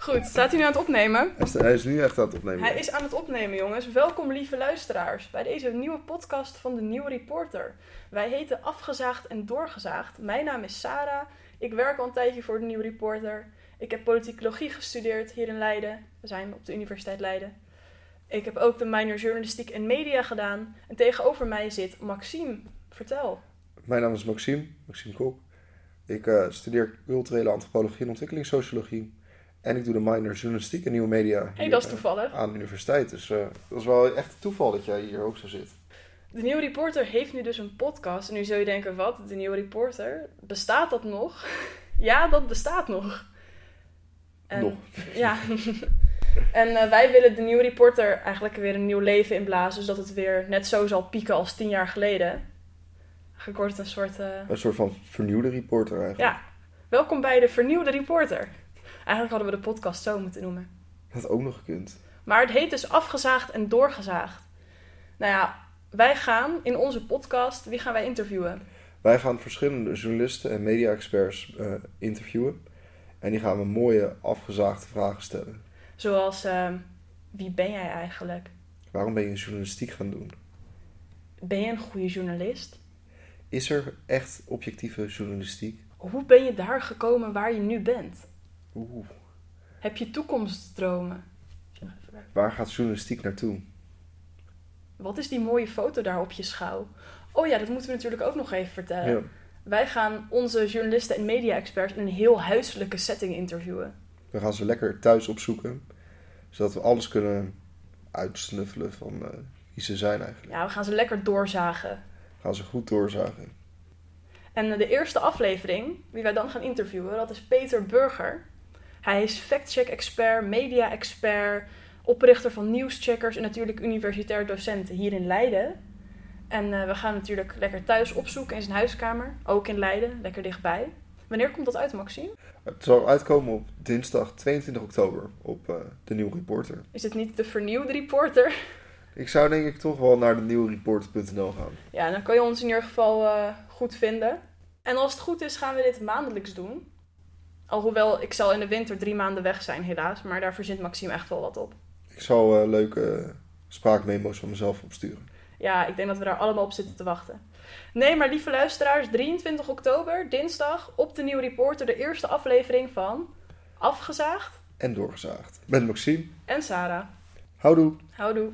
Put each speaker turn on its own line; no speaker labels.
Goed, staat hij nu aan het opnemen?
Hij is- Hij is nu echt aan het opnemen.
Hij is aan het opnemen, jongens. Welkom, lieve luisteraars, bij deze nieuwe podcast van de Nieuwe Reporter. Wij heten Afgezaagd en Doorgezaagd. Mijn naam is Sarah. Ik werk al een tijdje voor de Nieuwe Reporter. Ik heb politicologie gestudeerd hier in Leiden. We zijn op de Universiteit Leiden. Ik heb ook de minor journalistiek en media gedaan. En tegenover mij zit Maxime. Vertel.
Mijn naam is Maxime, Maxime Kok. Ik eh, studeer culturele antropologie en ontwikkelingssociologie. En ik doe de minor journalistiek en nieuwe media
Hé,
hier,
dat is
eh,
toevallig.
aan de universiteit. Dus eh, dat is wel echt toeval dat jij hier ook zo zit.
De Nieuwe Reporter heeft nu dus een podcast. En nu zul je denken, wat? De Nieuwe Reporter? Bestaat dat nog? ja, dat bestaat nog. En,
Nog.
Ja. en eh, wij willen de Nieuwe Reporter eigenlijk weer een nieuw leven inblazen. Zodat het weer net zo zal pieken als tien jaar geleden. Eigenlijk wordt het een soort... eh,
Een soort van vernieuwde reporter eigenlijk.
Ja. Welkom bij de vernieuwde reporter. Eigenlijk hadden we de podcast zo moeten noemen.
Dat had ook nog gekund.
Maar het heet dus afgezaagd en doorgezaagd. Nou ja, wij gaan in onze podcast, wie gaan wij interviewen?
Wij gaan verschillende journalisten en media-experts eh, interviewen. En die gaan we mooie, afgezaagde vragen stellen.
Zoals, eh, wie ben jij eigenlijk?
Waarom ben je journalistiek gaan doen?
Ben je een goede journalist?
Is er echt objectieve journalistiek?
Hoe ben je daar gekomen waar je nu bent?
Oeh.
Heb je toekomstdromen?
Waar gaat journalistiek naartoe?
Wat is die mooie foto daar op je schouw? Oh ja, dat moeten we natuurlijk ook nog even vertellen.
Ja.
Wij gaan onze journalisten en media-experts in een heel huiselijke setting interviewen.
We gaan ze lekker thuis opzoeken, zodat we alles kunnen uitsnuffelen van eh, wie ze zijn eigenlijk.
Ja, we gaan ze lekker doorzagen.
Gaan ze goed doorzagen.
En de eerste aflevering, wie wij dan gaan interviewen, dat is Peter Burger. Hij is factcheck-expert, media-expert, oprichter van nieuwscheckers en natuurlijk universitair docent hier in Leiden. En eh, we gaan natuurlijk lekker thuis opzoeken in zijn huiskamer, ook in Leiden, lekker dichtbij. Wanneer komt dat uit, Maxime?
Het zal uitkomen op dinsdag 22 oktober op eh, de Nieuwe Reporter.
Is het niet de vernieuwde reporter?
Ik zou denk ik toch wel naar de nieuwereporter.nl gaan.
Ja, dan kan je ons in ieder geval eh, goed vinden. En als het goed is, gaan we dit maandelijks doen. Alhoewel, ik zal in de winter drie maanden weg zijn, helaas. Maar daar verzint Maxime echt wel wat op.
Ik zal eh, leuke spraakmemo's van mezelf opsturen.
Ja, ik denk dat we daar allemaal op zitten te wachten. Nee, maar lieve luisteraars, 23 oktober, dinsdag, op de Nieuwe Reporter, de eerste aflevering van Afgezaagd
En doorgezaagd. Met Maxime.
en Sarah.
Houdoe.
Houdoe.